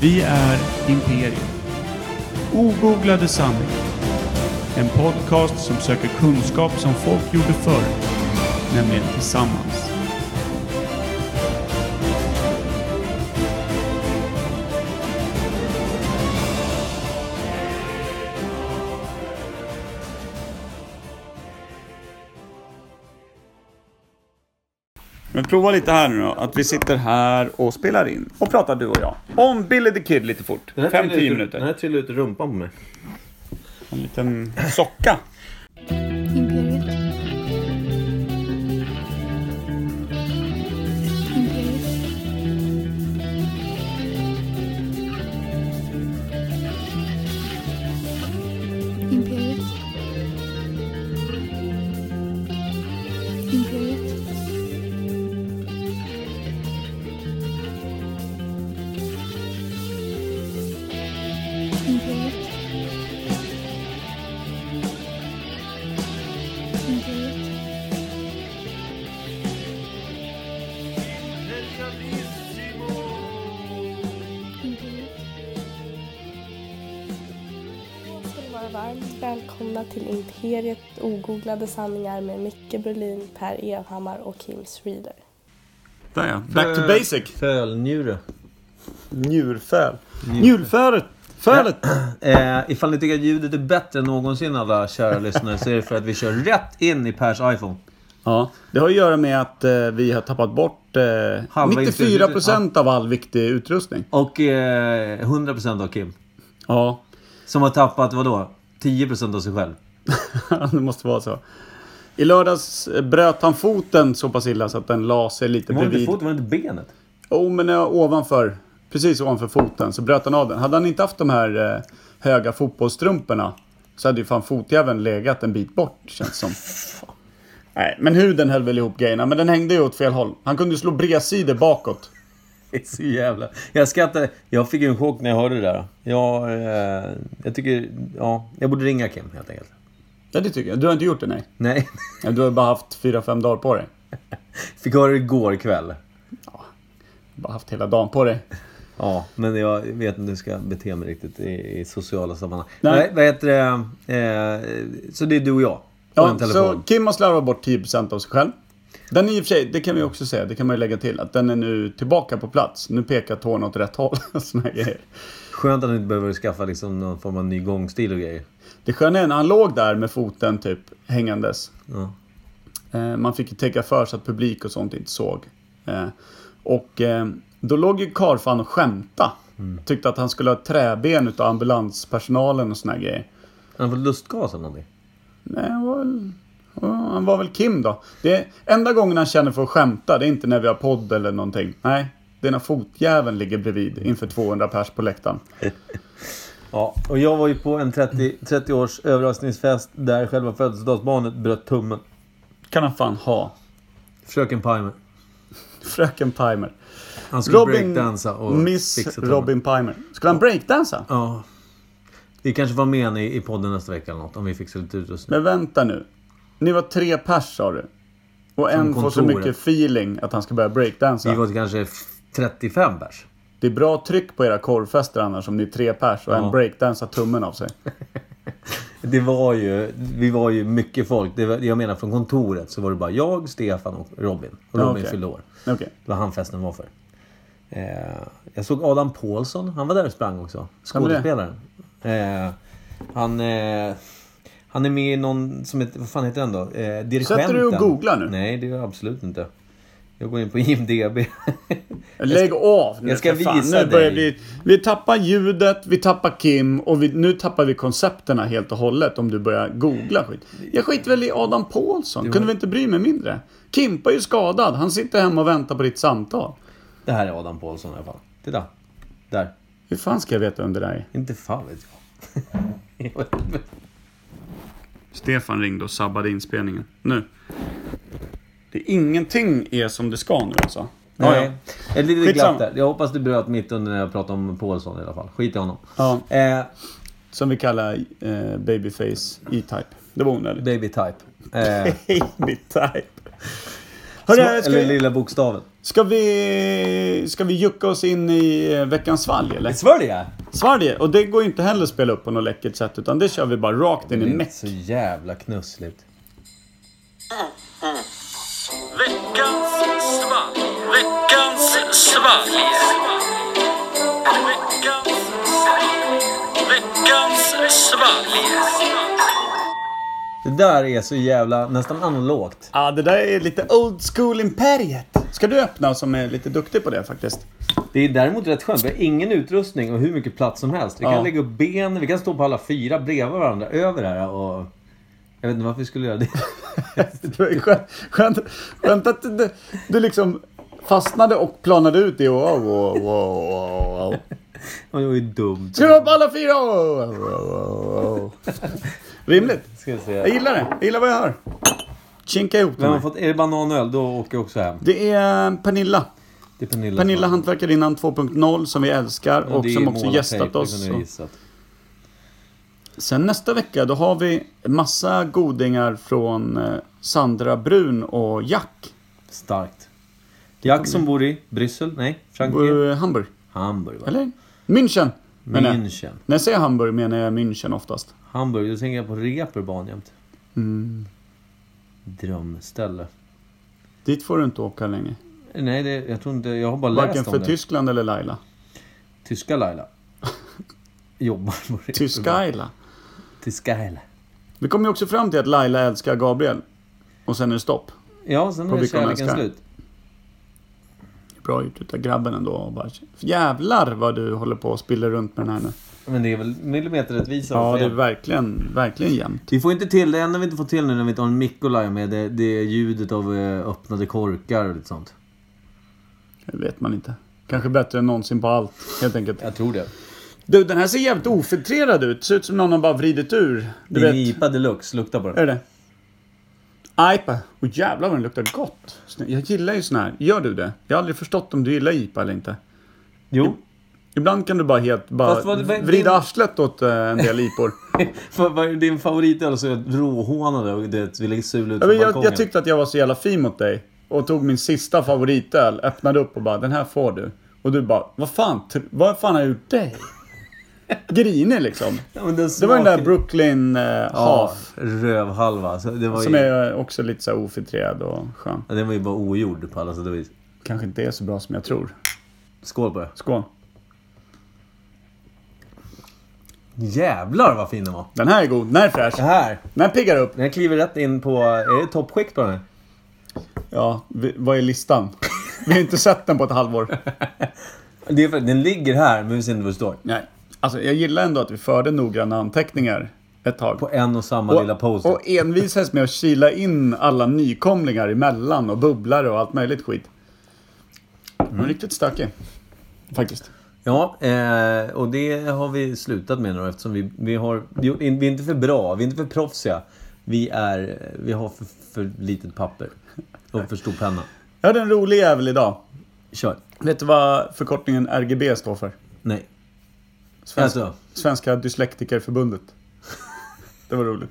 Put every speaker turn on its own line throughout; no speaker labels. Vi är Imperium. Ogooglade sanningar. En podcast som söker kunskap som folk gjorde förr, nämligen tillsammans.
Men prova lite här nu då, att vi sitter här och spelar in och pratar du och jag. Om Billy the Kid lite fort.
Den här
5-10
trillade ut ur- Den
minuter.
här trillade ut ur rumpan på mig.
En liten socka.
Imperiet. Imperiet. Imperiet. Imperiet. Imperiet. Imperiet. Imperiet.
ska ni vara varmt välkomna till Imperiet ogooglade sanningar med Micke Berlin, Per Evhammar och Kim Reader.
Där ja. Back to basic.
Fölnjure.
Njurfäl. Njurfälet. Fälet.
Eh, ifall ni tycker att ljudet är bättre än någonsin alla kära lyssnare så är det för att vi kör rätt in i Pers iPhone.
Ja, det har att göra med att eh, vi har tappat bort eh, 94% av all viktig utrustning.
Och eh, 100% av Kim.
Ja,
Som har tappat vadå? 10% av sig själv.
det måste vara så. I lördags eh, bröt han foten så pass illa så att den la sig lite
Var det inte
bredvid.
foten? Var det inte benet?
Jo, men eh, ovanför. Precis ovanför foten så bröt han av den. Hade han inte haft de här eh, höga fotbollstrumporna så hade ju fan fotjäveln legat en bit bort känns som. Nej, men huden höll väl ihop grejerna. Men den hängde ju åt fel håll. Han kunde ju slå bredsidor bakåt.
Det är så jävla... Jag skrattar. Jag fick ju en chock när jag hörde det där. Jag, eh, jag tycker... Ja, jag borde ringa Kim helt enkelt.
Ja, det tycker jag. Du har inte gjort det, nej.
Nej.
Ja, Du har bara haft fyra fem dagar på dig.
Fick höra det igår kväll.
Bara haft hela dagen på dig.
Ja, men jag vet inte hur jag ska bete mig riktigt i, i sociala sammanhang.
Nej.
Nej. Vad heter det? Eh, så det är du och jag. Och
Ja,
en
så
telefon.
Kim har slarvat bort 10% av sig själv. Den är i och för sig, det kan vi också säga, det kan man ju lägga till, att den är nu tillbaka på plats. Nu pekar tårna åt rätt håll. Såna här grejer.
Skönt att du inte behöver skaffa liksom någon form av ny gångstil och grejer.
Det sköna är när han låg där med foten typ hängandes.
Ja.
Eh, man fick ju täcka för så att publik och sånt inte såg. Eh, och eh, då låg ju karlfan och skämta.
Mm.
Tyckte att han skulle ha träben utav ambulanspersonalen och såna här grejer.
Han har fått lustgas eller någonting.
Nej, han var väl... ja, Han var väl Kim då. Det är, enda gången han känner för att skämta, det är inte när vi har podd eller någonting. Nej, det är när fotjäveln ligger bredvid inför 200 pers på läktaren.
Ja, och jag var ju på en 30, 30 års överraskningsfest där själva födelsedagsbarnet bröt tummen.
Kan han fan ha.
Fröken Pimer.
Fröken Pimer.
Han skulle
Robin...
breakdansa och
Miss
fixa tummen.
Robin Pimer. Skulle han breakdansa?
Ja. Vi kanske får med henne i, i podden nästa vecka eller något om vi fixar lite utrustning.
Men vänta nu. Ni var tre pers sa du. Och en får så
kontoret.
mycket feeling att han ska börja breakdansa.
Vi var kanske f- 35 pers.
Det är bra tryck på era korvfester annars om ni är tre pers och en
Ja.
breakdansar tummen av sig.
Det var ju, vi var ju mycket folk. Det var, jag menar från kontoret så var det bara jag, Stefan och Robin. Och
Ja,
Robin
okej.
fyllde år.
Okej.
Det var han festen var för. Eh, jag såg Adam Paulsson. Han var där och sprang också.
Vem är det?
Skådespelaren. Eh, han, eh, han är med i någon som heter, vad fan heter den då? Eh, dirigenten.
Sätter du och googlar nu?
Nej, det gör jag absolut inte. Jag går in på IMDB.
Lägg av nu
jag ska
för fan.
visa
nu börjar
dig.
vi, vi tappar ljudet, vi tappar Kim och vi, nu tappar vi koncepterna helt och hållet om du börjar googla skit. Jag skiter väl i Adam Paulsson. Kunde vi inte bry mig mindre? Kimpa är ju skadad. Han sitter hemma och väntar på ditt samtal.
det här är Adam Paulsson i alla fall. Titta. Där.
Hur fan ska jag veta vem det där är?
Inte fan vet jag. jag. vet inte.
Stefan ringde och sabbade inspelningen. Nu. Det är ingenting är som det ska nu alltså. Ja, ja.
Eh,
Nej. Ett litet
Skitsamma.
glapp där. Jag hoppas du bröt mitt under när jag pratade om Paulsson i alla fall. Skit i honom.
Ja,
Eh,
som vi kallar eh, Babyface E-Type. Det var onödigt.
baby type. Eh,
Baby-Type. Hörru,
Eller
ska, vi-
lilla bokstaven.
ska, vi, ska vi jucka oss in i eh, veckans svalg eller?
Sverige?
Sverige, och det går ju inte heller att spela upp på något läckert sätt utan det kör vi bara rakt in
Det
i
är
meck.
inte så jävla knussligt.
Veckans svalg. Veckans svalg. Veckans svalg. Veckans svalg.
Det där är så jävla, nästan analogt.
Ja, det där är lite old school imperiet. Ska du öppna som är lite duktig på det faktiskt?
Det är däremot rätt skönt. Vi har ingen utrustning och hur mycket plats som helst. Vi kan
Ja.
lägga upp ben, vi kan stå på alla fyra bredvid varandra över här och... Jag vet inte varför vi skulle göra det.
Det var ju skönt, skönt, skönt att du, du liksom fastnade och planade ut i wow, wow, wow, wow, wow.
Och Det var ju dumt.
Ska vi vara på alla fyra? Wow, wow, wow, wow. Rimligt.
Ska jag
Jag
säga.
gillar det. Jag gillar vad jag hör. Kinka ihop det.
Vem har
här.
fått, är det bananöl, då åker jag också hem.
Det är eh, Pernilla.
Det är Pernilla. som
Pernilla
har-
Hantverkarinnan 2.0 som vi älskar
Ja, det
och
är
som också
målartejp,
gästat
det
oss.
kunde jag
Så-
gissat.
Sen nästa vecka då har vi massa godingar från eh, Sandra Brun och Jack.
Starkt. Jack som bor i Bryssel? Nej, Frankrike?
Eh, Hamburg.
Hamburg, va?
Eller? München. menar jag.
München.
När jag säger Hamburg menar jag München oftast.
Hamburg, då tänker jag på Reeperbahn jämt.
Mm.
Drömställe.
Dit får du inte åka längre.
Nej, det, jag tror inte... Jag har bara
Varken
läst om
för
det.
Tyskland eller Laila.
Tyska Laila. Jobbar på Reeperbahn.
Tyska Laila.
Tyska Laila.
Vi kom ju också fram till att Laila älskar Gabriel. Och sen är det stopp.
Ja, sen
På
är
Vilken
kärleken
Älskar.
slut.
Bra gjort utav grabben ändå. och Bara, jävlar vad du håller på och spiller runt med den här nu.
Men det är väl millimeterrättvisa?
Ja,
vad
det är
fan.
verkligen, verkligen jämnt.
Vi får inte till, det enda vi inte får till nu när vi inte har en Mikolaj med, det, det är ljudet av eh, öppnade korkar och lite sånt.
Det vet man inte. Kanske bättre än någonsin på allt, helt enkelt.
Jag tror det.
Du, den här ser jävligt ofiltrerad ut. Ser ut som någon har bara vridit ur. Du
Det är en
vet,
IPA deluxe, lukta på den.
är det? IPA. Och jävlar vad den luktar gott. Snä- Jag gillar ju sån här. Gör du det? Jag har aldrig förstått om du gillar IPA eller inte.
Jo.
Ibland kan du bara helt bara
Fast vad- vad-
vrida
din-
arslet åt eh, en del IPOR.
Vad vad är din favoritöl så är det råhånade och det ville sula ut
Ja,
från
men jag,
Liksom, balkongen.
jag tyckte att jag var så jävla fin mot dig. Och tog min sista favoritöl, öppnade upp och bara den här får du. Och du bara, vad fan, tr- vad fan har jag gjort dig? Grinig liksom.
ja, men den
Det var den där
smaken-
Brooklyn eh,
Ja,
Half.
rövhalva. Så Alltså, det var
Som
ju,
är också lite så här ofiltrerad och skön.
ja, den var ju bara ogjord på alla sätt och vis.
Kanske inte är så bra som jag tror.
Skål på det.
Skål.
Jävlar vad fin den var.
Den här är god, den här är fräsch.
Det här.
Den här piggar upp.
Den här kliver rätt in på... Är det toppskikt på den här?
Ja, vi, vad är listan? Vi har inte sett den på ett halvår.
Det är för, den ligger här, men vi ser inte vad det står.
Nej. Alltså jag gillar ändå att vi förde noggranna anteckningar ett tag.
På en och samma lilla post
och envisades med att kila in alla nykomlingar emellan och bubblare och allt möjligt skit. Den var riktigt stökig. Faktiskt.
Ja, eh, och det har vi slutat med nu då, eftersom vi, vi har... Vi, gjort- vi är inte för bra, vi är inte för proffsiga. Vi är... Vi har för, för litet papper. Och för stor penna.
Jag hade en rolig jävel idag.
Kör.
Vet du vad förkortningen RGB står för?
Nej.
Svensk,
Alltså,
Svenska Dyslektikerförbundet. Det var roligt.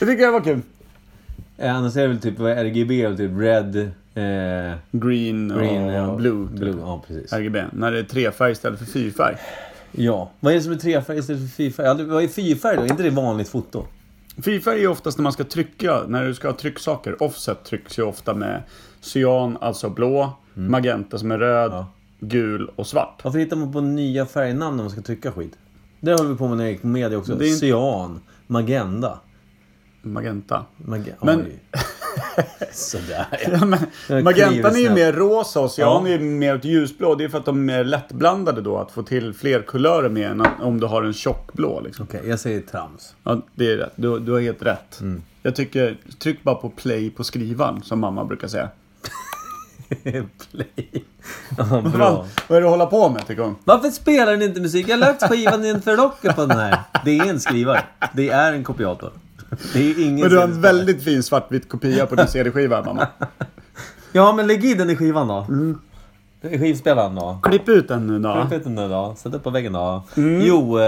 Det tycker jag var kul.
eh, annars är det väl typ vad är RGB och typ red... Eh,
Green,
green
och blue. typ.
blue. Ja, precis.
RGB. När det är trefärg istället för fyrfärg.
Ja. Vad är det som är trefärg istället för fyrfärg? Ja, det- Vad är fyrfärg då? Är inte det vanligt foto?
Fyrfärg är ju oftast när man ska trycka, när du ska ha trycksaker. Offset trycks ju ofta med cyan, alltså blå, magenta som är röd,
Mm. Ja.
gul och svart.
Varför hittar man på nya färgnamn när man ska trycka skit? Det höll vi på med när jag gick på media också.
Det är inte-
Cyan, magenda.
Magenta.
Mag-
Men-
Oj. Sådär ja.
Ja, men,
Jag kliver
magentan är ju
snabbt.
mer rosa och cyan
Ja.
är mer åt ljusblå. Det är för att de är mer lättblandade då, att få till fler kulörer med än om du har en tjockblå. Liksom.
Okej, jag säger trams.
Ja, det är rätt. Du, du har helt rätt.
Mm.
Jag tycker, tryck bara på play på skrivaren, som mamma brukar säga.
Play. Ja,
Vad
bra.
vad är det att hålla på med, tycker hon.
Varför spelar den inte musik? Jag har lagt skivan i en förlocket på den här. Det är en skrivare. Det är en kopiator. Det är ingen
Men du har en
CD-spelare.
väldigt fin svartvit kopia på din CD-skiva, mamma.
Ja, men lägg i den i skivan då.
Mm.
I Skivspelaren då.
Klipp ut den nu då.
Klipp ut den där då. Sätt upp på väggen då.
Mm.
Jo, eh,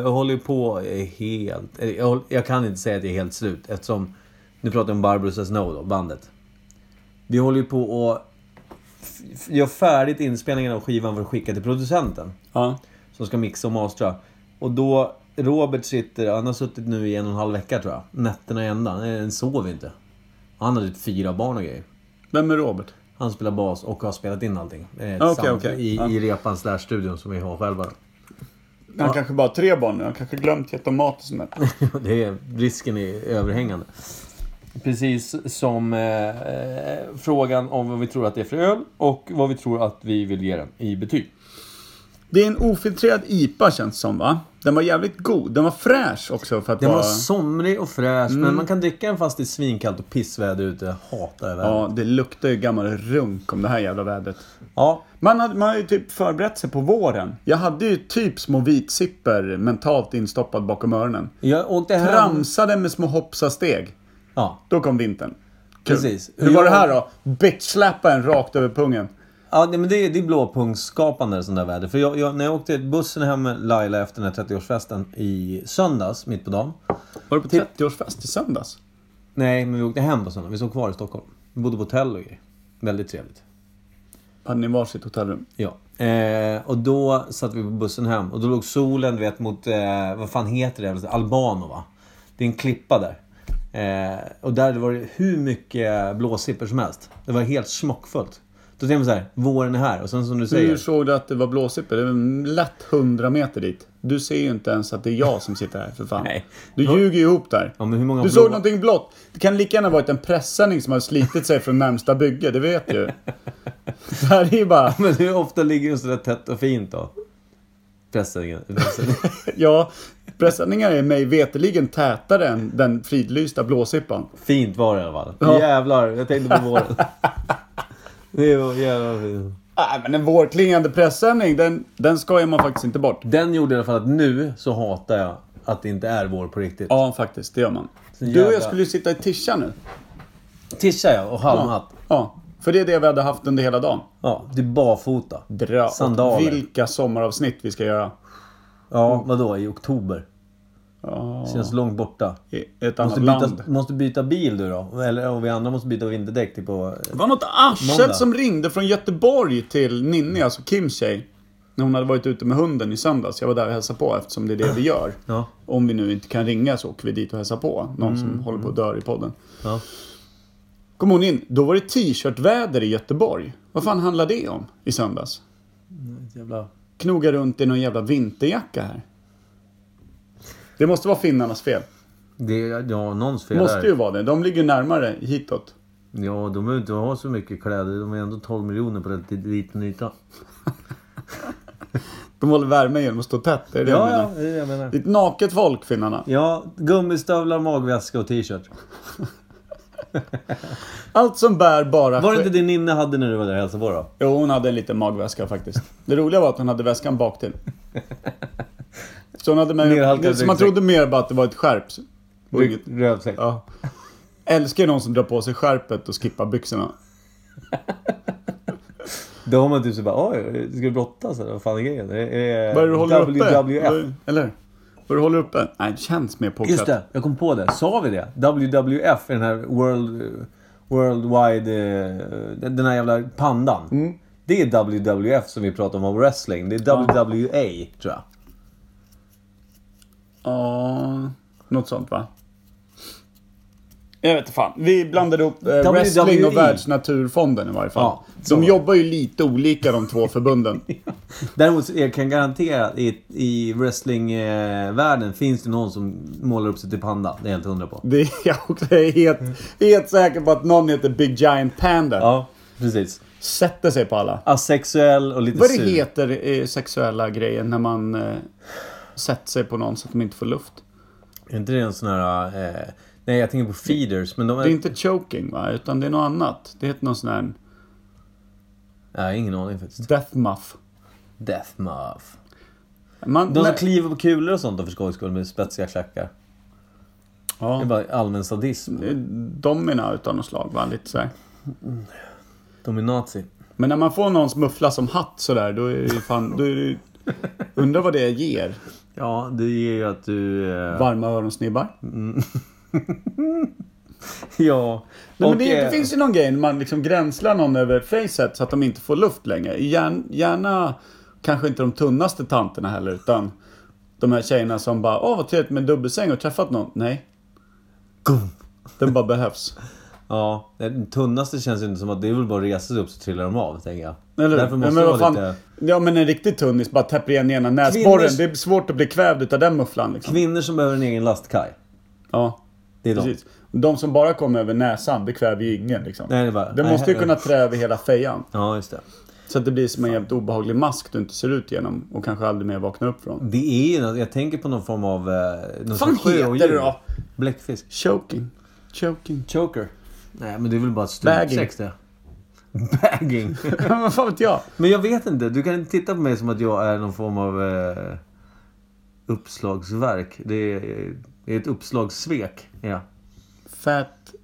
jag håller ju på eh, helt... eh, Jag, håll- jag kan inte säga att jag är helt slut eftersom... Nu pratar jag om Barbro Snow då, bandet. Vi håller ju på och f- f- gör färdigt inspelningen av skivan för att skicka till producenten.
Ja.
Som ska mixa och mastra. Och då, Robert sitter, han har suttit nu i en och en halv vecka tror jag. Nätterna i ända. Nej, Han sover inte. Han har typ fyra barn och grejer.
Vem är Robert?
Han spelar bas och har spelat in allting. Eh,
okej,
tillsammans
okej.
I,
Ja.
I repan slash studion som vi har själva. då.
Han kanske bara har tre barn nu. Han kanske glömt gett dem mat och sånt där.
Det är, risken är överhängande. Precis som eh, eh, frågan om vad vi tror att det är för öl och vad vi tror att vi vill ge den i betyg.
Det är en ofiltrerad IPA känns som va? Den var jävligt god. Den var fräsch också för att
Den
vara...
var somrig och fräsch, men man kan dricka den fast det är svinkallt och pissväder ute. Jag hatar det där. Ja.
Ja, det luktar ju gammal runk om det här jävla vädret. Man hade, man hade ju typ förberett sig på våren. Jag hade ju typ små vitsipper mentalt instoppad bakom öronen.
Jag åkte hem...
Tramsade med små hoppsasteg.
Ja.
Då kom vintern. Kul.
Precis.
Hur var det
Jag-
här då? Bitch-släppa en rakt över pungen.
Ja, nej, men det, är- det är blåpunktsskapande sånt där väder. För jag, jag, när jag åkte bussen hem med Laila efter den här 30-årsfesten i söndags, mitt på dagen.
Var du på 30-årsfest i söndags?
Nej, men vi åkte hem på söndagen. Vi stod kvar i Stockholm. Vi bodde på hotell och grejer. Väldigt trevligt.
Hade ni varsitt hotellrum?
Ja. Eh, och då satt vi på bussen hem och då låg solen du vet mot, eh, vad fan heter det? Albano va? Det är en klippa där. Eh, och där var det hur mycket blåsippor som helst. Det var helt smockfullt. Då tänkte man så här, våren är här. Och sen som du säger.
Hur såg du att det var blåsippor? Det var lätt 100 meter dit. Du ser ju inte ens att det är jag som sitter här för fan.
Nej.
Du ljuger ju ihop där.
Ja, men hur många
du
blå-
såg någonting blått. Det kan lika gärna varit en pressändning som har slitit sig från närmsta bygge, det vet du. Det här är ju bara...
Men hur ofta ligger den sådär tätt och fint då? Pressen. pressen.
Ja, pressändningar är mig veteligen tätare än den fridlysta blåsippan.
fint var det i alla fall.
Ja.
Jävlar, jag tänkte på våren. Det var jävla fint.
Nej, men en vårklingande pressändning, den, den skojar man faktiskt inte bort.
Den gjorde i alla fall att nu så hatar jag att det inte är vår på riktigt.
Ja, faktiskt. Det gör man. Du och
jävla-
jag skulle ju sitta i tischa nu.
Tisha ja, och halmhatt.
Ja, för det är det vi hade haft under hela dagen.
Ja, det är barfota.
Dra åt
Sandaler.
Vilka sommaravsnitt vi ska göra.
Ja, vadå? I oktober?
Ja,
Känns långt borta.
I ett annat
Måste byta,
land.
måste byta bil du då? Eller och vi andra måste byta vinterdäck typ, till på...
Det var något arsel
Måndag.
som ringde från Göteborg till Ninni, alltså Kims tjej. När hon hade varit ute med hunden i söndags. Jag var där och hälsade på eftersom det är det vi gör.
Ja.
Om vi nu inte kan ringa så åker vi dit och hälsar på. Någon som håller på och dör i podden.
Mm, Ja.
Kom hon in, då var det t-shirtväder i Göteborg. Vad fan handlar det om i söndags?
Mm, Jävla...
Knogar runt i någon jävla vinterjacka här. Det måste vara finnarnas fel.
Det är ja, någons fel
Det måste
där.
ju vara det. De ligger närmare hitåt.
Ja, de behöver inte ha så mycket kläder. De är ändå 12 miljoner på rätt liten yta.
De håller värme genom att stå tätt. Det är det jag menar.
det är det jag menar.
Det är ett naket folk, finnarna.
Ja, gummistövlar, magväska och t-shirt.
Allt som bär bara...
Var det
ske-
inte det Ninne hade när du var där och hälsade på då?
Jo, hon hade en liten magväska faktiskt. Det roliga var att hon hade väskan bak till. Så hon hade
Nerhalkad
med... Så man
ryggsäck.
trodde mer bara att det var ett skärp. Och inget-
Rövsäck.
Ja. Älskar ju någon som drar på sig skärpet och skippar byxorna.
Då har man typ så bara, oj, ska du brottas eller vad fan är grejen? Är, är,
Vad är det du håller
WWF?
uppe? Eller? Vad är det du håller uppe? Nej, det känns mer påklätt.
Just det, jag kom på det. Sa vi det? WWF är den här World... Worldwide... eh, Den här jävla pandan.
Mm.
Det är WWF som vi pratar om av wrestling. Det är WWA, tror jag.
Ja, något sånt va? Jag vet inte fan. Vi blandade ihop eh,
WWE.
wrestling och Världsnaturfonden i varje fall.
E. Ja, så
de
var
jobbar ju lite olika de två förbunden.
Däremot så jag kan garantera att i, i wrestlingvärlden finns det någon som målar upp sig till panda. Det är jag helt hundra på.
Det är jag också helt, helt säker på att någon heter Big Giant Panda.
Ja, precis.
Sätter sig på alla.
Asexuell och lite
Vad det
sur.
heter eh, sexuella grejen när man eh, sätter sig på någon så att de inte får luft?
Är inte det en sån här... Eh, nej, jag tänker på feeders. Men de är...
Det är inte choking va? Utan det är något annat. Det heter någon sån här
Nej, ingen aning faktiskt.
death muff.
Death muff.
Man,
De som
men-
kliver på kulor och sånt då för skojs skull med spetsiga klackar. Det är
ja,
bara allmän sadism.
eh, domina utan något slag va? Lite så här.
De är nazi.
Men när man får någons muffla som hatt sådär, då är det ju fan... Då är det, ju- undrar vad det ger.
Ja, det ger ju att du... Eh,
Varma öronsnibbar.
Ja.
Nej,
och,
men det,
eh,
det finns ju någon grej när man liksom gränslar någon över facet så att de inte får luft längre. Gärna, gärna kanske inte de tunnaste tanterna heller utan de här tjejerna som bara Åh vad trevligt med en dubbelsäng, har du träffat någon? Nej.
Gum.
Den bara behövs.
Ja, den tunnaste känns ju inte som att det är väl bara att resa sig upp så trillar de av, tänker jag.
Eller hur?
Därför måste
ja, men
det
vad
vara
fan,
lite...
ja men en riktig tunnis bara täpper igen ena näsborren.
Kvinnors-
Det är svårt att bli kvävd utav den mufflan liksom.
Kvinnor som behöver en egen lastkaj.
Ja,
Det är de.
precis. De som bara kommer över näsan, det kväver ju ingen liksom.
Nej, det är bara-
den
nej,
måste ju
här-
kunna trä över hela fejan.
Ja, just det.
Så att det blir som en jävligt obehaglig mask du inte ser ut genom och kanske aldrig mer vaknar upp från.
Det är ju något, jag tänker på någon form av... eh, Någon
fan
sorts sjöodjur.
heter det då?
Bläckfisk.
Choking. Choking.
Choker. Nej, men det är väl bara ett
Bagging.
strypsex det. Bagging.
Vad fan vet jag?
men jag vet inte, du kan inte titta på mig som att jag är någon form av eh, uppslagsverk. Det är, det är ett uppslagssvek. Ja.
Fat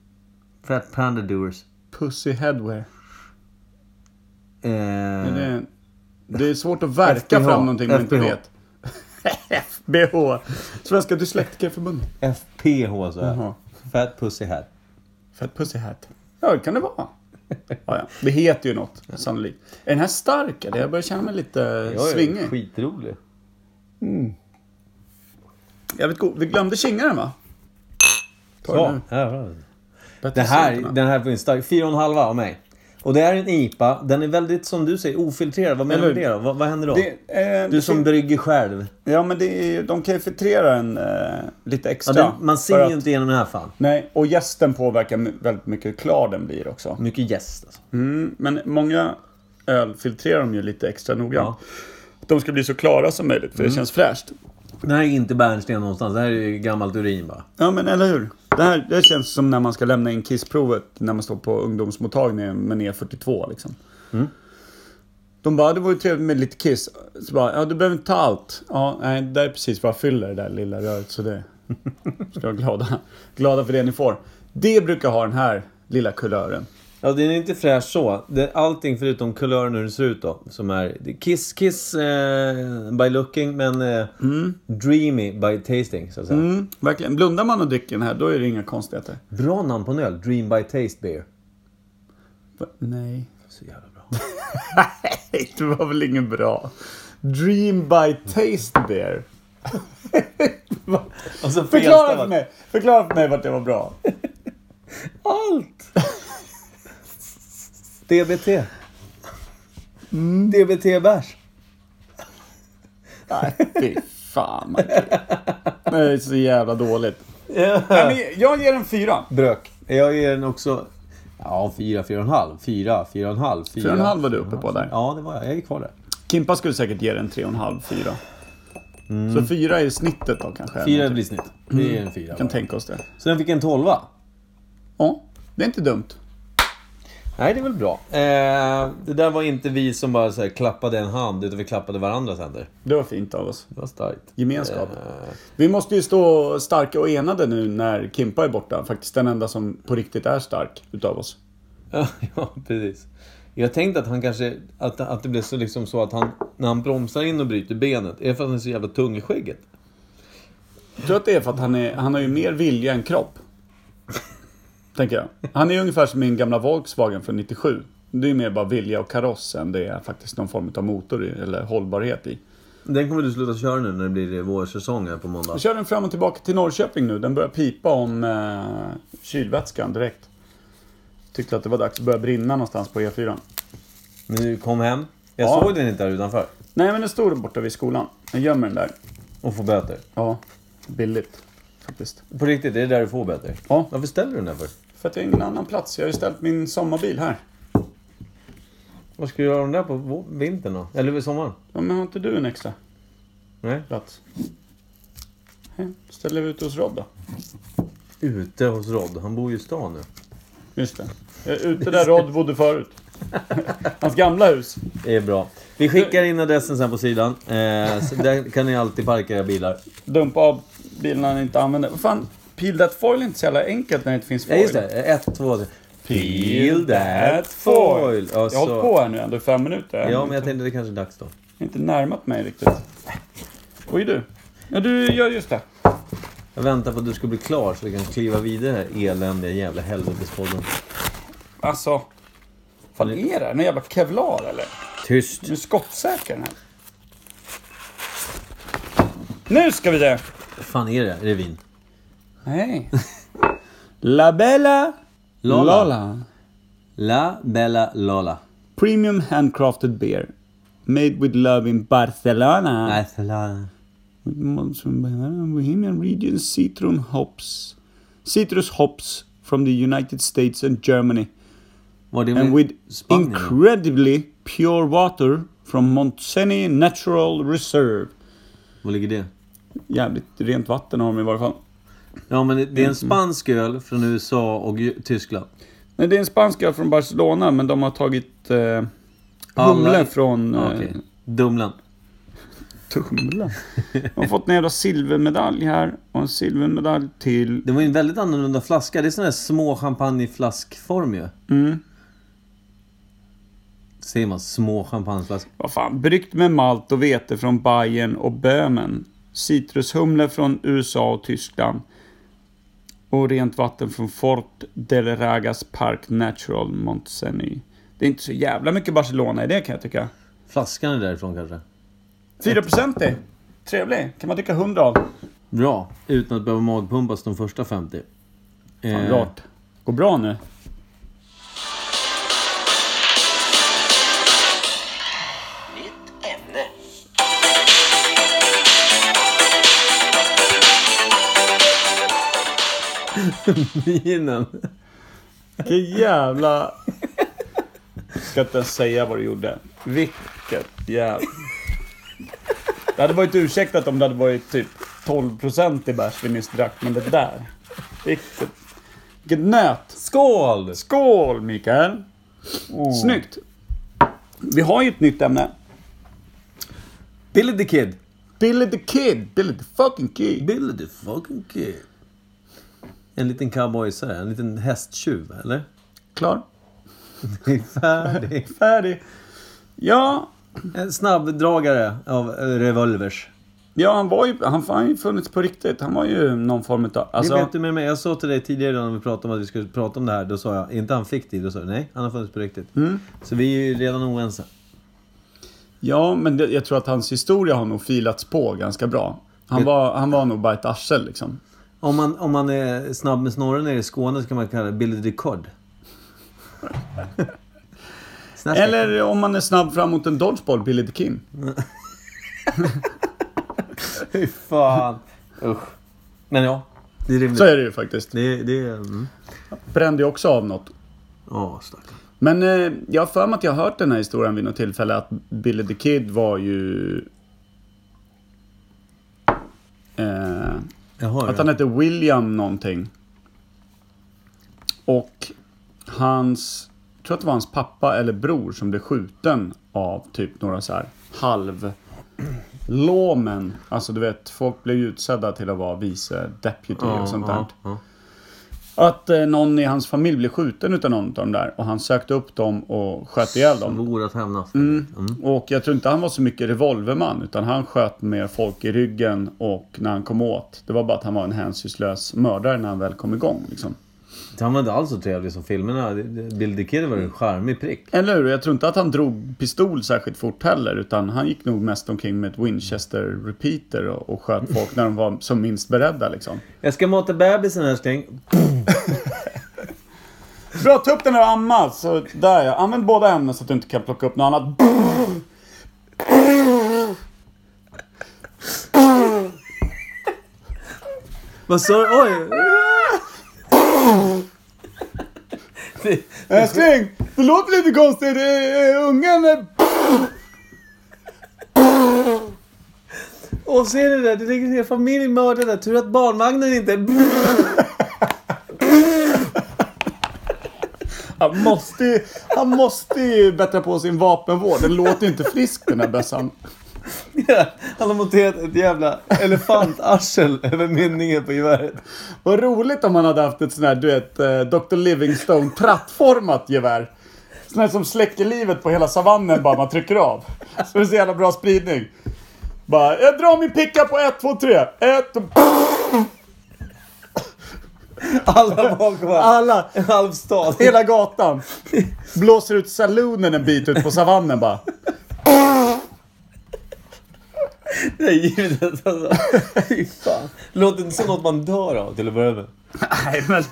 Fat Panda Doers.
pussy headwear.
Eh,
Det, är, det är svårt att verka
FBH.
fram någonting man inte
FBH.
vet. FBH. Svenska Dyslektikerförbundet.
FPH så här.
Jaha.
Fat Pussy Hat.
Fat pussy hat. Ja, det kan det vara. Ja, ja. Det heter ju något, sannolikt. Är den här stark eller? Jag börjar känna mig lite
Jag är
svingig.
Skitrolig.
Jävligt god. Vi glömde kingaren va? Ta
Ja,
den nu.
här har vi den.
Bättre
det här,
sent än
den här får en stark... Fyra och en halva av mig. Och det här är en IPA. Den är väldigt, som du säger, ofiltrerad. Vad menar du med
Eller
det då? Vad, vad händer då?
det, eh,
du
det
som
fin-
brygger själv.
Ja, men det är, ju- de kan ju filtrera en eh, lite
Ja,
extra.
den, man
För
ser
att-
ju inte igenom den här fan.
Nej, och gästen påverkar my- väldigt mycket hur klar den blir också.
Mycket gäst alltså.
Mm, men många öl filtrerar de ju lite extra noggrant.
Ja. Mm.
De ska bli så klara som möjligt, för det känns fräscht.
Den här är inte bärnsten någonstans. Det här är ju gammalt urin bara.
Ja, men eller hur? Det här det känns som när man ska lämna in kissprovet när man står på ungdomsmottagningen men är 42 liksom. De bara, det vore trevligt med lite kiss. Så bara, ja du behöver inte ta allt. Ja, nej, det där är precis vad jag fyller det där lilla röret så det... Ska vara glada. glada för det ni får. Det brukar ha den här lilla kulören.
Ja, den är inte fräsch så. Det är allting förutom kulören hur den ser ut då. Som är det är Kiss Kiss eh, by looking, men eh, Dreamy by tasting, så att säga.
Mm, verkligen. Blundar man och dricker den här, då är det inga konstigheter.
Bra namn på en öl. Dream by taste beer.
Va? Nej.
Så jävla bra.
Nej, det var väl ingen bra. Dream by taste beer.
Och så
Förklara för
felstavat.
mig, förklara för mig vart det var bra.
Allt! DBT.
Mm.
DBT bärs.
Nej, fy fan Michael. Det är så jävla dåligt. Nej, men jag ger den fyra.
Brök. Jag ger den också... Ja, fyra, fyra och en halv. Fyra, fyra och en halv. Fyra,
Fyra och en halv var du uppe på där.
Ja, det var jag. Jag är kvar där.
Kimpa skulle säkert ge den tre och en halv, fyra. Så fyra är snittet då kanske.
Fyra
Vi
blir snitt. Det är en fyra.
kan
bara.
tänka oss det.
Så den fick en tolva.
Ja, det är inte dumt.
Nej, det är väl bra. Eh, det där var inte vi som bara så här, klappade en hand, utan vi klappade varandras händer.
Det var fint av oss.
Det var starkt.
Gemenskap. Vi måste ju stå starka och enade nu när Kimpa är borta. Faktiskt den enda som på riktigt är stark utav oss.
Ja, Eh, ja, precis. Jag tänkte att han kanske... Att, att det blev så, liksom så att han... När han bromsar in och bryter benet, är det för att han är så jävla tung i skägget?
Jag tror att det är för att han, är, han har ju mer vilja än kropp. Tänker jag. Han är ungefär som min gamla Volkswagen från 97. Det är mer bara vilja och kaross än det är faktiskt någon form av motor i, eller hållbarhet i.
Den kommer du sluta köra nu när det blir vårsäsong här på måndag.
Jag kör den fram och tillbaka till Norrköping nu. Den börjar pipa om eh, kylvätskan direkt. Tyckte att det var dags att börja brinna någonstans på E E4.
Men du kom hem. Jag
Ja.
såg den inte där utanför.
Nej men den stod där borta vid skolan. Jag gömmer den där.
Och får böter.
Ja, billigt faktiskt.
På riktigt, är det där du får böter?
Ja.
Varför ställer du den där för?
För att jag har ingen annan plats. Jag har ju ställt min sommarbil här.
Vad ska du göra den där på vå- vintern då? Eller vid sommaren?
Ja, men har inte du en extra?
Nej.
plats. Ja, Ställer vi ut hos Rob då.
Ute hos Rod. Han bor ju i stan nu.
Just det. Jag är Ute där Rod bodde förut. Hans gamla hus.
Det är bra. Vi skickar in adressen sen på sidan. Eh, så där kan ni alltid parka era bilar.
Dumpa av bilarna han inte använder. Vad fan, peel that foil är inte så jävla enkelt när det inte finns
Ja,
foil.
just det. Ett, två, tre. Peel that foil.
Jag
Och
har hållit
så...
på här nu ändå i fem minuter. Jag har
Ja, men jag tänkte det kanske är dags då.
inte närmat mig riktigt. Oj du. Ja, du gör just det.
Jag väntar på att du ska bli klar så vi kan kliva vidare i eländiga jävla helvetespodden.
Alltså. Vad är det här? Någon jävla kevlar eller?
Tyst!
Du är skottsäker den här. Nu ska vi det!
Vad fan är det? Är det vin?
Nej. La Bella
Lola. La Bella Lola.
Premium handcrafted beer. Made with love in Barcelona.
Nej, Lola.
With malts from Bahama, Bohemian region citron hops. Citrus hops from the United States and Germany.
Var det
And
med
with
Mm. Spanien?
incredibly pure water from Montseny Natural Reserve.
Var ligger det?
Jävligt rent vatten har de i varje fall.
Ja, men det- det är en spansk öl från USA och ju- Tyskland.
Nej, det är en spansk öl från Barcelona, men de har tagit eh, humle
Alla-
från...
Ja,
Eh,
Ah, Okej. Dumlan.
Tumla? De har fått en jävla silvermedalj här och en silvermedalj till.
Det var ju en väldigt annorlunda flaska. Det är sån här små champagneflaskform ju.
Mm.
Säger man små champagneflaskor?
Vad fan, bryggt med malt och vete från Bayern och Böhmen. Citrushumle från USA och Tyskland. Och rent vatten från Fort del Ragas Park Natural Montseny. Det är inte så jävla mycket Barcelona i det kan jag tycka.
Flaskan är därifrån kanske.
4% i. Trevlig. Kan man tycka 100 av.
Bra. Utan att behöva magpumpas de första 50.
Fan,
Eh,
rart. Går bra nu.
Nytt ämne.
Minen.
Vilken jävla... Ska inte ens säga vad du gjorde. Vilket jävla... Det hade varit ursäktat om det hade varit typ 12% i bärs vi nyss drack, men det där. Vilket... Vilket nöt!
Skål!
Skål Mikael! Snyggt! Vi har ju ett nytt ämne.
Billy the Kid.
Billy the Kid! Billy the fucking Kid!
Billy the fucking Kid. En liten cowboysare. En liten hästtjuv, eller?
Klar?
Färdig.
Färdig! Ja,
En snabbdragare av eh, revolvers.
ja han, var ju, han har ju funnits på riktigt. Han var ju någon form av... alltså-
det vet du med mig. Jag sa till dig tidigare när vi pratade om att vi skulle prata om det här. Då sa jag, är inte han fiktiv? Då sa du, nej, han har funnits på riktigt.
Mm.
Så vi är ju redan oense.
Ja, men det, jag tror att hans historia har nog filats på ganska bra. Han var, han var nog bara ett arsel liksom.
Om man, om man är snabb med snorren nere i Skåne så kan man kalla det Billy the Cod. Snaska.
Eller om man är snabb fram mot en dodgeball, Billy the King.
Fy fan. Usch. Men ja, det är rimligt.
Så är det ju faktiskt.
Det, det är... Mm.
Brände ju också av något.
Ja, stackarn.
Men eh, jag har för mig att jag har hört den här historien vid något tillfälle att Billy the Kid var ju... Eh,
Jag hör
Att han hette William någonting. Och hans, jag tror att det var hans pappa eller bror som blev skjuten av typ några så här halv lawmen. Alltså du vet, folk blev ju utsedda till att vara vice deputy och sånt där.
ja.
Att eh, någon i hans familj blev skjuten utav någon av dem där och han sökte upp dem och sköt ihjäl dem.
Svor att hämnas.
Mm. Och jag tror inte han var så mycket revolverman utan han sköt med folk i ryggen och när han kom åt. Det var bara att han var en hänsynslös mördare när han väl kom igång. Liksom.
Han var inte alls så trevlig som filmerna. Det- det- Billy the Kid var en charmig prick.
Eller hur? Jag tror inte att han drog pistol särskilt fort heller utan han gick nog mest omkring med ett Winchester repeater och, och sköt folk när de var som minst beredda. Liksom.
Jag ska mata bebisen älskling.
Bra, ta upp den och amma. Så där ja. Använd båda ämnena så att du inte kan plocka upp något annat.
Vad sa du? Oj!
Älskling, det låter lite konstigt. Eh, Ungen är...
Och ser ni det? Det ligger en hel familj mördad där. Tur att barnvagnen inte är...
Han måste, ju- han måste ju bättra på sin vapenvård. Den låter ju inte frisk den här bössan.
Han har monterat ett jävla elefantarsel över mynningen på geväret.
Vad roligt om han hade haft ett sånt här, du vet, eh, Dr. Livingstone trattformat gevär. Sånt här som släcker livet på hela savannen bara man trycker av. Så det är så jävla bra spridning. Bara, jag drar min picka på ett, två, tre. Ett och...
Alla bakom honom.
Alla,
En halv stad.
hela gatan. Blåser ut saloonen en bit ut på savannen bara.
Det är givet alltså. Fy fan. Låter inte som något man dör av till att börja med.
Nej men.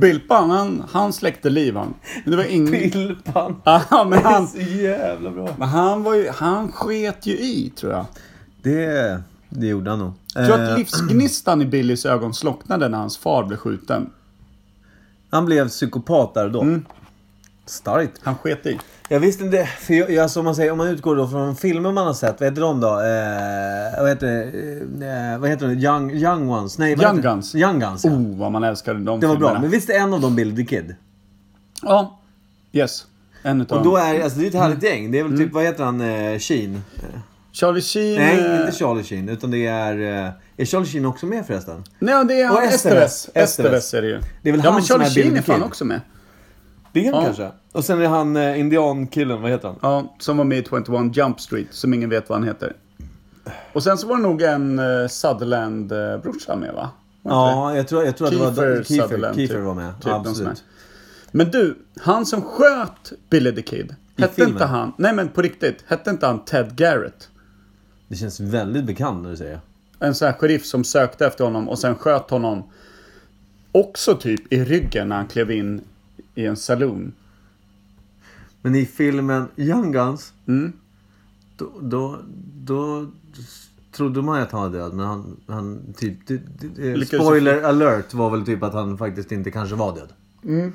Bilpan, han, han släckte liv han. Men det var ingen...
Pilpan.
Ja, men
Det är
han,
så jävla bra.
men han var ju, han sket ju i tror jag.
Det, det gjorde han nog.
Jag tror att
Eh,
livsgnistan i Billys ögon slocknade när hans far blev skjuten.
han blev psykopat där och då. Starkt.
Han sket i.
Jag visste inte, för jag, jag, som man säger, om man utgår då från filmer man har sett, vad heter de då? Eh, vad heter eh, vad heter de? Young, young Ones? Nej, vad
Young
heter,
Guns.
Young Guns, ja.
Oh, vad man älskade de
Det var
filmerna.
bra. Men visst är en av dem Bill the Kid?
Ja. Yes. En utav
Och då
dem.
är alltså det är ett härligt
Mm.
gäng. Det är väl typ, vad heter han, eh, Sheen? Eh,
Charlie Sheen.
Nej,
eh,
inte Charlie Sheen. Utan det är... Eh, är Charlie Sheen också med förresten?
Nej, det är
Och
han.
Esteves.
Esteves. Esteves är det ju.
Det är väl
ja,
han
men
som
Charlie
är Bill
Sheen är
the Kid.
fan också med.
Det är han
Ja.
kanske. Och sen är han eh, indiankillen, vad heter han?
Ja, som var med i 21 Jump Street, som ingen vet vad han heter. Och sen så var det nog en uh, Sutherland-brorsa med va? Var det inte
Ja, jag tror, jag tror att det var
Kiefer
Kiefer, Kiefer,
Sutherland, typ.
var med.
Typ
ja,
de som
absolut.
det? Men du, han som sköt Billy the Kid, hette
filmen?
inte han, nej men på riktigt, hette inte han Ted Garrett?
Det känns väldigt bekant när du säger det.
En sån här sheriff som sökte efter honom och sen sköt honom också typ i ryggen när han klev in i en saloon.
Men i filmen Young Guns.
Mm.
Då, då, då trodde man ju att han var död. Men han, han typ... d- d- eh,
Lyckades-
spoiler alert var väl typ att han faktiskt inte kanske var död.
Mm.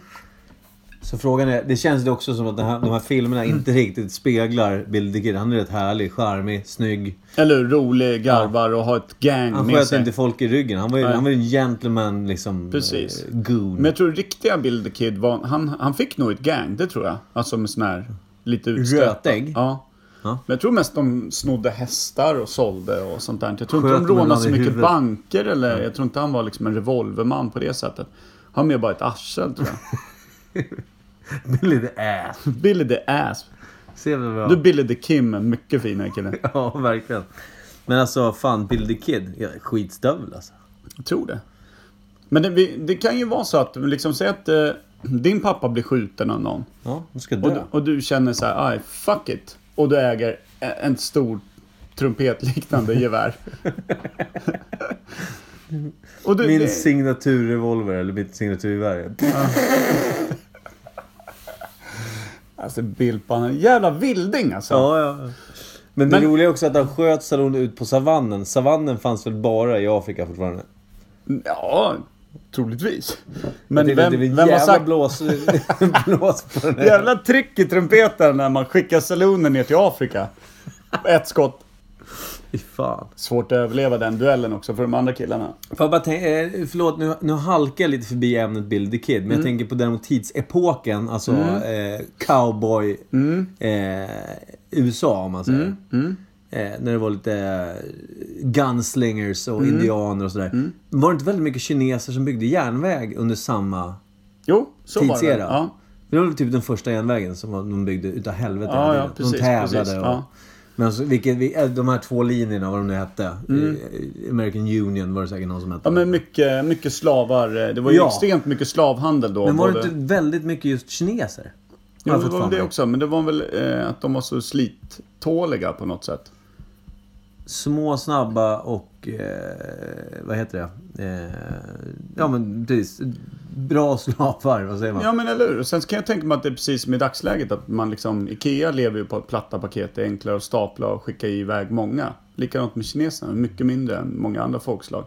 Så frågan är, det känns det också som att den här, de här filmerna
Mm.
inte riktigt speglar Bill the Kid. Han är rätt härlig, charmig, snygg.
Eller hur? rolig, garvar och har ett gang
Han
med
sköt
sig.
inte folk i ryggen. Han var ju, han var ju en gentleman liksom.
Precis.
eh, Goon.
Mm. Men jag tror riktiga Bill the Kid var, han, han fick nog ett gang, det tror jag. Alltså med sån här lite utstötta.
Rötägg?
Ja.
Ja.
Men jag tror mest de snodde hästar och sålde och sånt där. Jag tror
Sköt
inte
dem
de rånade
ibland
så
i
mycket
huvudet.
banker eller, jag tror inte han var liksom en revolverman på det sättet. Han var mer bara ett arsel tror jag.
Billy the ass.
Billy the Ass.
Ser vi bra.
Du Billy the Kim, en mycket finare kille.
Ja, verkligen. Men alltså, fan, Bill the Kid. ja, Skitstövel alltså.
Jag tror det. Men det, vi- det kan ju vara så att, liksom säg att eh, din pappa blir skjuten av någon.
Ja, du ska
Och
dö.
du, och du känner så här, aj, fuck it. Och du äger e- en stor trumpetliknande gevär. och du,
Min
det-
signaturrevolver, eller mitt signaturgevär.
Alltså Bilpan, en jävla vilding alltså.
Ja, ja. Men det
Men-
roliga är också att han sköt Stallone ut på savannen. Savannen fanns väl bara i Afrika fortfarande?
Ja, troligtvis.
Men
Men
det, är väl-
vem,
det är väl
vem har
jävla
sagt...
blås, blås på den här.
Jävla trick i trumpeten när man skickar salonen ner till Afrika. Ett skott.
Fy fan.
Svårt att överleva den duellen också för de andra killarna.
Får jag bara tänka, eh, förlåt, nu, nu halkar jag lite förbi ämnet Bill the Kid. Men
Mm.
jag tänker på däremot tidsepoken, alltså eh, cowboy
Mm.
eh, USA om man säger. Eh, när det var lite eh, gunslingers och
Mm.
indianer och sådär. Var det inte väldigt mycket kineser som byggde järnväg under samma
Jo, så var det.
tidsera?
Ja.
Det var väl typ den första järnvägen som var- de byggde utav helvete.
Ja,
hela
ja,
tiden. de
precis,
tävlade
precis,
och...
ja.
Men så, vilket, vi- eh, de här två linjerna, vad de nu hette. eh, American Union var det säkert någon som hette.
Mm. Ja men mycket, mycket slavar. eh, Det var ju
Ja.
extremt mycket slavhandel då.
Men var det
både-
inte väldigt mycket just kineser?
Jo,
Har jag
det
fått
var
för
väl det
mig.
också. Men det var väl eh, att de var så slittåliga på något sätt.
Små, snabba och... Eh, vad heter det? Eh, ja, men precis. Bra slavar, vad säger man?
Ja, men eller hur? Och Sen kan jag tänka mig att det är precis som i dagsläget. Att man liksom, Ikea lever ju på att platta paket. Det är enklare att stapla och skicka iväg många. Likadant med kineserna. Mycket mindre än många andra folkslag.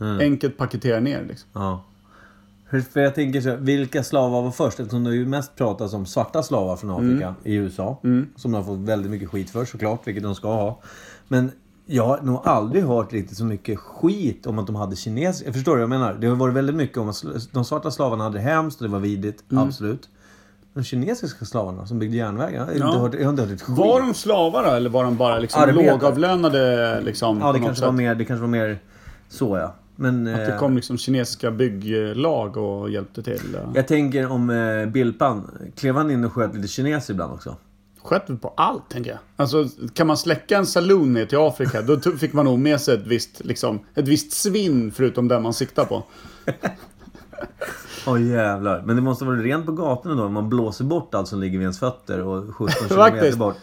Mm.
Enkelt paketera ner liksom.
Ja. För- För jag tänker så här, vilka slavar var först? Eftersom det ju mest pratas om svarta slavar från Afrika
Mm.
i USA. Som de har fått väldigt mycket skit för såklart, vilket de ska ha. Men jag har nog aldrig hört riktigt så mycket skit om att de hade kineser. Jag förstår vad jag menar. Det har varit väldigt mycket om att sl- de svarta slavarna hade det hemskt och det var vidrigt.
Mm.
Absolut. De kinesiska slavarna som byggde järnvägar. Jag har inte
Ja.
hört, jag har inte hört ett skit.
Var de slavar då? Eller var de bara liksom
Arbetare.
lågavlönade? Liksom,
ja, det
på något
kanske, var
sätt?
mer, det kanske var mer så ja. Men,
Att det
eh,
kom liksom kinesiska bygglag och hjälpte till. eh.
Jag tänker om eh, Bilpan, klev han in och sköt lite kineser ibland också?
sköt vi på allt, tänker jag. Alltså, kan man släcka en saloon ner till Afrika, då to- fick man nog med sig ett visst, liksom, ett visst svinn förutom den man siktar på.
Åh jävlar. Men det måste vara rent på gatorna då om man blåser bort allt som ligger vid ens fötter och 17 kilometer
Faktiskt.
bort.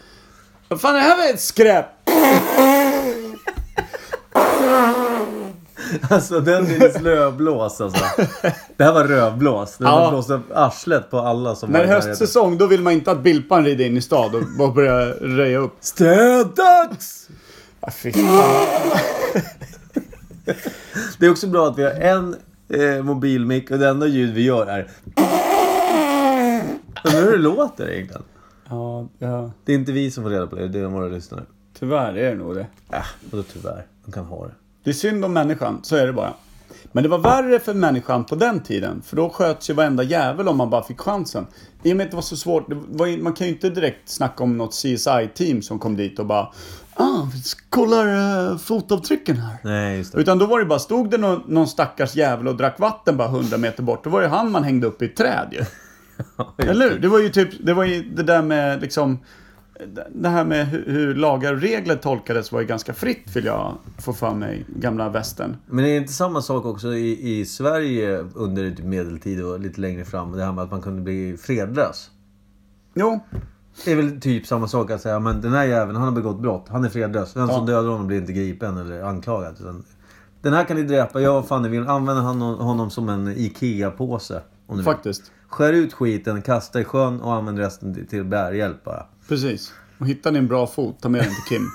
Vad fan, det här var ett skräp!
Alltså den är slöblås alltså. Det här var rövblås. Den
Ja.
har blåst upp arslet på alla som
När
var
det
i
är
närheten.
höstsäsong, då vill man inte att Bilpan rider in i stad och bara börjar röja upp.
Städdags!
Ah, fy fan.
Det är också bra att vi har en eh, mobilmick och det enda ljud vi gör är... Men hur det låter egentligen.
Ja, ja,
Det är inte vi som får reda på det, det är våra lyssnare.
tyvärr är det nog det.
Äh, vadå tyvärr? De kan ha det.
Det är synd om människan, så är det bara. Men det var värre för människan på den tiden, för då sköts ju varenda jävel om man bara fick chansen. I och med att det var så svårt, det var, ju- man kan ju inte direkt snacka om något CSI-team som kom dit och bara ah, vi kollar eh, fotavtrycken här.
Nej, just det.
Utan då var det bara, stod det någon, någon stackars jävel och drack vatten bara 100 meter bort, då var det han man hängde upp i ett träd ju. Eller hur? Det var ju typ, det var ju det där med liksom, det här med hur, hur lagar och regler tolkades var ju ganska fritt vill jag få för mig, gamla västern.
Men det är inte samma sak också i, i Sverige under typ medeltid och lite längre fram? Det här med att man kunde bli fredlös.
Jo,
Det är väl typ samma sak att säga men den här jäveln han har begått brott. Han är fredlös. Den som dödar honom blir inte gripen eller anklagad. Utan, den här kan ni dräpa. Jag och Fanny vill använda honom, honom som en IKEA-påse. Om ni vill.
faktiskt.
Skär ut skiten, kasta i sjön och använd resten till- till bärhjälp bara.
Precis. Och hittar ni en bra fot, ta med den till Kim.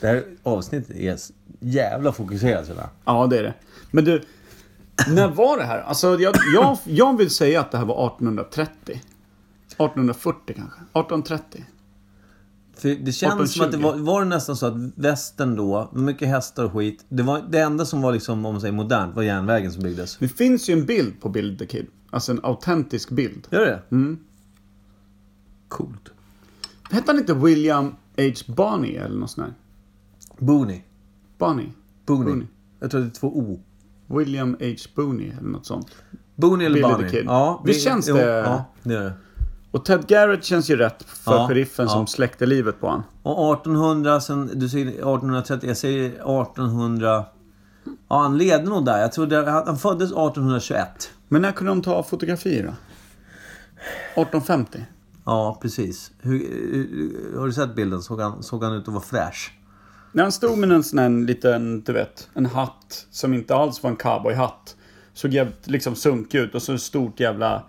Det här avsnittet är s- jävla fokuserat. Sådär.
Ja, det är det. Men du, när var det här? Alltså, jag, jag, jag vill säga att det här var 1830. 1840 kanske? 1830?
För det känns som att det var, var det nästan så att västern då, med mycket hästar och skit. Det, var, det enda som var liksom, om man säger modernt, var järnvägen som byggdes.
Det finns ju en bild på Bild the Kid. Alltså en autentisk bild.
Gör det? Mm. Coolt.
Hette han inte William H. Bonney eller något sånt där?
Booney.
Bonney?
Booney.
Booney.
Jag tror det är två O.
William H. Booney eller något sånt.
Booney eller
Billy the
Bunny.
Kid.
Ja,
Visst känns
jo,
det-
Ja, det gör det.
Och Ted Garrett känns ju rätt för
Ja,
sheriffen
ja.
som släckte livet på han.
Och 1800, sen, du säger 1830, jag säger 1800... Ja, han ledde nog där. Jag tror det, han han föddes 1821.
Men när kunde de ta fotografier då? 1850?
Ja, precis. Hur, hur, har du sett bilden? Såg han, såg han ut att vara fräsch?
När han stod med en sån här liten, du vet, en hatt som inte alls var en cowboyhatt. Såg jävligt liksom sunkig ut och så ett stort jävla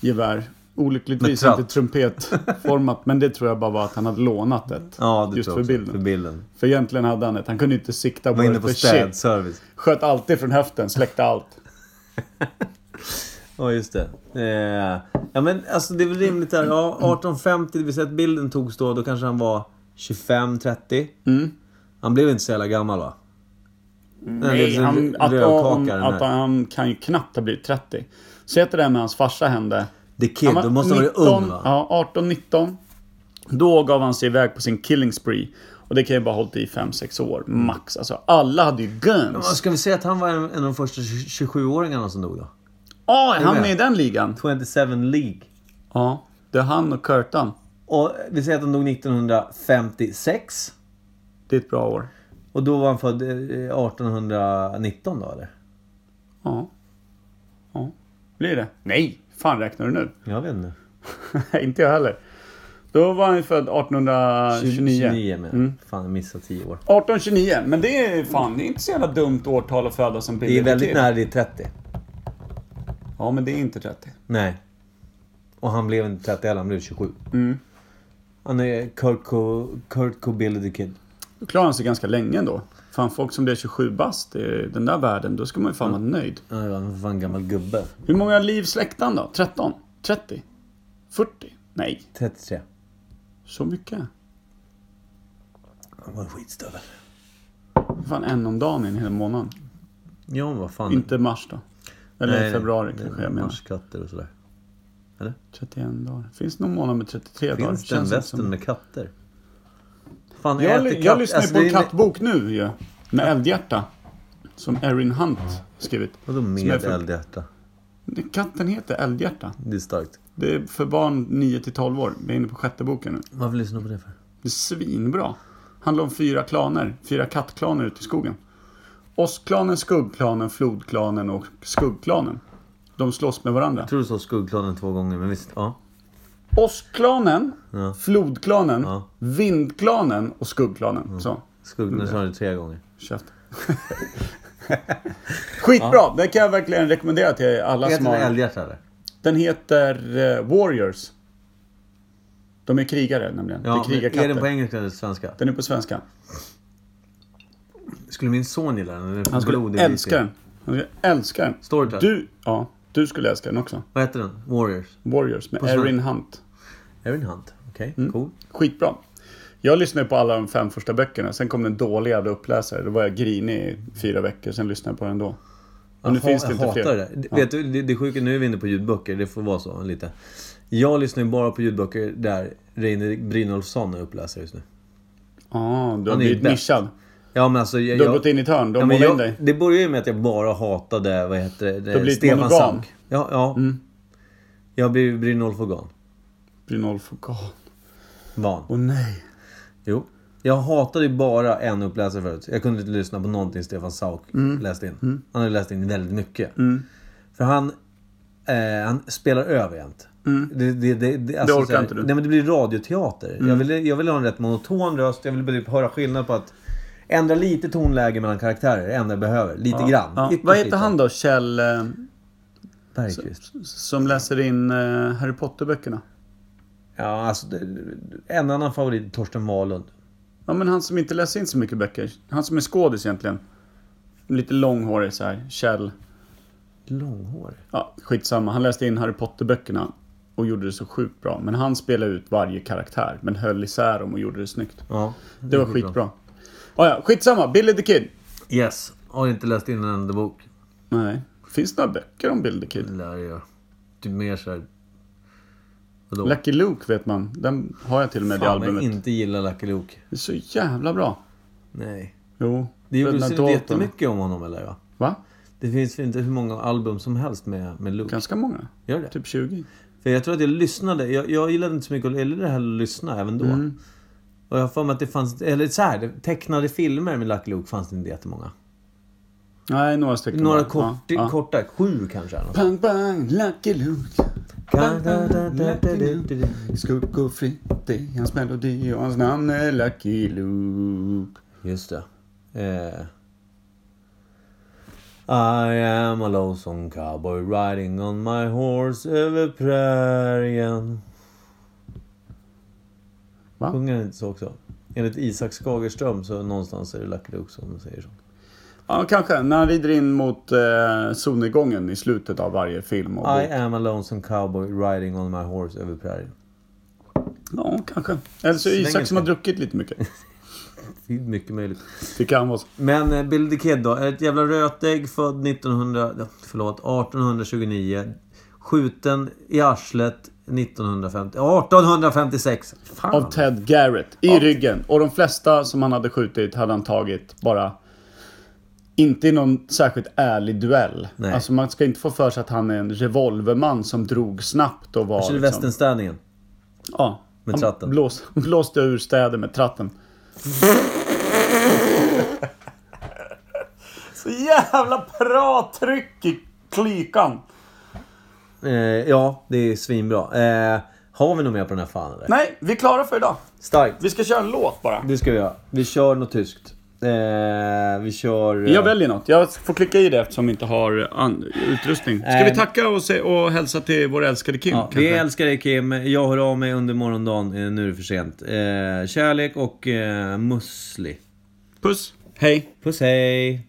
gevär. Olyckligtvis
Med tratt.
inte trumpetformat, men det tror jag bara var att han hade lånat ett.
Ja, det
just
tror
för
jag också.
bilden.
För bilden.
För egentligen hade han ett. Han kunde inte sikta på
Var inne
det.
på
För shit,
städservice.
sköt alltid från höften, släckte allt.
Ja, just det. Eh, ja, men alltså det är väl rimligt där. Ja,
Mm.
1850, det vill säga att bilden togs då. Då kanske han var 25-30.
Mm.
Han blev inte så jävla gammal va?
Nej, han, att, han, att
han...
han kan ju knappt ha blivit 30. Så att det där med hans farsa hände.
The Kid,
var
då måste han ha varit ung va?
Ja, 18-19. Då gav han sig iväg på sin killing spree. Och det kan ju bara ha hållit i 5-6 år, max. Alltså, alla hade ju
Ja,
guns.
Mm. Ska vi säga att han var en, en av de första 27-åringarna som dog då?
Ja, han
med?
är i den ligan.
27 League.
Ja, det är han och Kurtan.
Och vi säger att han dog 1956.
Det är ett bra år.
Och då var han född eh, 1819 då eller?
Ja. Ja. Blir det? Nej, fan räknar du nu?
Jag vet inte.
Nej, inte jag heller. Då var han ju född 1829.
29 men mm. Fan, jag missade 10 år.
1829, men det är fan det är inte så jävla dumt årtal att födas som Billy
Det är
the
väldigt
Kid.
nära ditt 30.
Ja, men det är inte 30.
Nej. Och han blev inte 30 heller, han blev 27. Han är Kurt, Co Kurt Cobilly the Kid.
Då klarar han sig ganska länge då. Fan, folk som blir 27 bast i den där världen, då ska man ju fan vara nöjd.
Ja, Han var fan en gammal gubbe.
Hur många liv släckte han då? 13? 30? 40? Nej,
33.
så mycket.
Han var en skitstövel.
Fan, en om dagen i en hel månad.
Ja, men vad fan.
Inte mars då. Eller februari kanske jag menar.
Marskatter och sådär.
31 dagar. Finns det någon månad med 33 dagar?
Finns det en
Känns inte
västen
som-
med katter? Fan,
Jag,
äter
jag,
katt-
lyssnar ju
alltså,
på en
det är-
kattbok nu ju. Med Eldhjärta. Som Erin Hunt skrivit.
Vadå
Som är
med
för-
eldhjärta?
Katten heter Eldhjärta.
Det är starkt.
Det är för barn 9 till 12 år. Vi är inne på sjätte boken nu.
Varför lyssnar du på det för?
Det är svinbra. Handlar om fyra klaner. Fyra kattklaner ute i skogen. Åskklanen, skuggklanen, flodklanen och skuggklanen. De slåss med varandra.
Jag tror du sa skuggklanen två gånger, men visst. Ja.
Åskklanen,
Ja.
flodklanen,
Ja.
vindklanen och skuggklanen. Så,
Skuggklanen sa du tre gånger.
käft. Skitbra! Det kan jag verkligen rekommendera till alla
Heter
som
den
har...
Älghjärta eller?
Den heter eh, Warriors. De är krigare nämligen.
Ja,
det
men
är
är den på
krigarkatter.
engelska eller svenska?
Den är på svenska.
Skulle min son gilla den? Den är
Han skulle
blod i
älska
risken.
den. Han skulle älska den.
Storytel.
Du, ja, du skulle älska den också.
Vad heter den? Warriors?
Warriors med
På svenska.
Erin Hunt.
Erin Hunt? Okej,
Mm.
cool.
Skitbra. Jag lyssnade på alla de fem första böckerna. Sen kom den dåliga jävla uppläsare. Då var jag grinig i fyra veckor. Sen lyssnade jag på den då. Och nu
jag
finns
ha-
det inte
jag hatar
fler.
det. Det- Vet du, det, det sjuka, nu är vi inne på ljudböcker, det får vara så lite. Jag lyssnar ju bara på ljudböcker där Reine Brynolfsson är uppläsare just nu.
Ja, Ah, du
Han
har
är ju
blivit
bäst.
nischad.
Ja men alltså... Jag,
Du har
jag-
gått in i ett hörn. De
ja, men
målar
jag,
in dig.
Det började ju med att jag bara hatade, vad heter det,
har blivit
Stefan
monogam.
Sank. Ja, ja.
Mm.
Jag har blivit Brynolf-organ.
Brynolf och Åh
Van.
åh, nej.
Jo. Jag hatade ju bara en uppläsare förut. Jag kunde inte lyssna på någonting Stefan Sauk
Mm.
läste in. Han har läst in väldigt mycket. För han, eh, han spelar över jämt. Det, det, det, det, alltså
Mm. orkar
så här-
inte du. Mm.
Nej men det blir radioteater. Jag, ville, jag ville ha en rätt monoton röst. Jag ville bara typ höra skillnad på att ändra lite tonläge mellan karaktärer. Det enda jag behöver. Lite grann.
Ja.
Ytterst
Vad heter
lite.
han då? Kjell... eh,
Bergqvist.
Som läser in eh, Harry Potter-böckerna.
Ja, alltså, det- en annan favorit är Torsten Wahlund.
Ja, men han som inte läser in så mycket böcker. Han som är skådis egentligen. Lite långhårig så här. Kjell.
Långhårig.
Ja, skitsamma. Han läste in Harry Potter-böckerna och gjorde det så sjukt bra. Men han spelade ut varje karaktär, men höll isär dem och gjorde det snyggt.
Ja.
Det var skitbra. Ah, ja, skitsamma. Billy the Kid.
Yes. Har inte läst in en enda bok.
Nej. Finns det några böcker om Billy the Kid?
lär jag. Typ mer såhär... Vadå?
Lucky Luke vet man. Den har jag till och med i
Fan, jag
albumet.
inte gillar Lucky Luke.
Det är så jävla bra.
Nej.
Jo.
Det gjordes
Bröderna
inte
Dalton.
jättemycket om honom eller? Va?
Va?
Det finns väl inte hur många album som helst med, med Luke.
Ganska många.
Gör det?
Typ 20.
För jag tror att jag lyssnade. Jag, jag gillade inte så mycket, jag gillade det här att lyssna även då.
Mm.
Och jag har för mig att det fanns, eller så här, det- tecknade filmer med Lucky Luke fanns det inte jättemånga.
Nej, några stycken.
Några
bara.
kort,
Ja, ja.
korta, sju kanske. eller något.
Bang, bang, Lucky Luke. Bang, bang, Lucky Luke. Skugg och fritt är hans melodi och hans namn är Lucky Luke.
Just det. Eh. I am a lonesome cowboy riding on my horse över prärien.
Va?
Sjunger han inte så också? Enligt Isak Skagerström så någonstans är det Lucky Luke som säger så.
Ja, kanske. När han rider in mot eh, solnedgången i slutet av varje film. Och
I am a lonesome cowboy riding on my horse över prärien.
Ja, kanske. Eller så är det
Slänger
Isak som har
sig.
druckit lite mycket.
Det är mycket möjligt.
Det kan vara så.
Men eh, Bill the Kid då. Ett jävla rötägg född 1900, ja, förlåt, 1829. Skjuten i arslet 1950, 1856. Fan.
Av Ted Garrett. I ryggen. Och de flesta som han hade skjutit hade han tagit bara... Inte i någon särskilt ärlig duell.
Nej.
Alltså man ska inte få för sig att han är en revolverman som drog snabbt och var... liksom-
Sydvästenstädningen.
Ja.
Med
Han
tratten.
Blås, blåste ur städer med tratten. Så jävla bra tryck i klykan.
Eh, ja, det är svinbra. Eh, har vi något mer på den här fan eller?
Nej, vi är klara för idag.
Starkt.
Vi ska köra en låt bara.
Det ska vi göra. Vi kör något tyskt. Eh, vi kör... eh,
Jag väljer något. Jag får klicka i det eftersom vi inte har an- utrustning. Ska
Nej,
vi
men-
tacka och, se- och hälsa till vår älskade Kim?
Ja,
kanske?
vi älskar dig Kim. Jag hör av mig under morgondagen. Eh, nu är det för sent. Eh, kärlek och eh, müsli.
Puss. Hej.
Puss hej!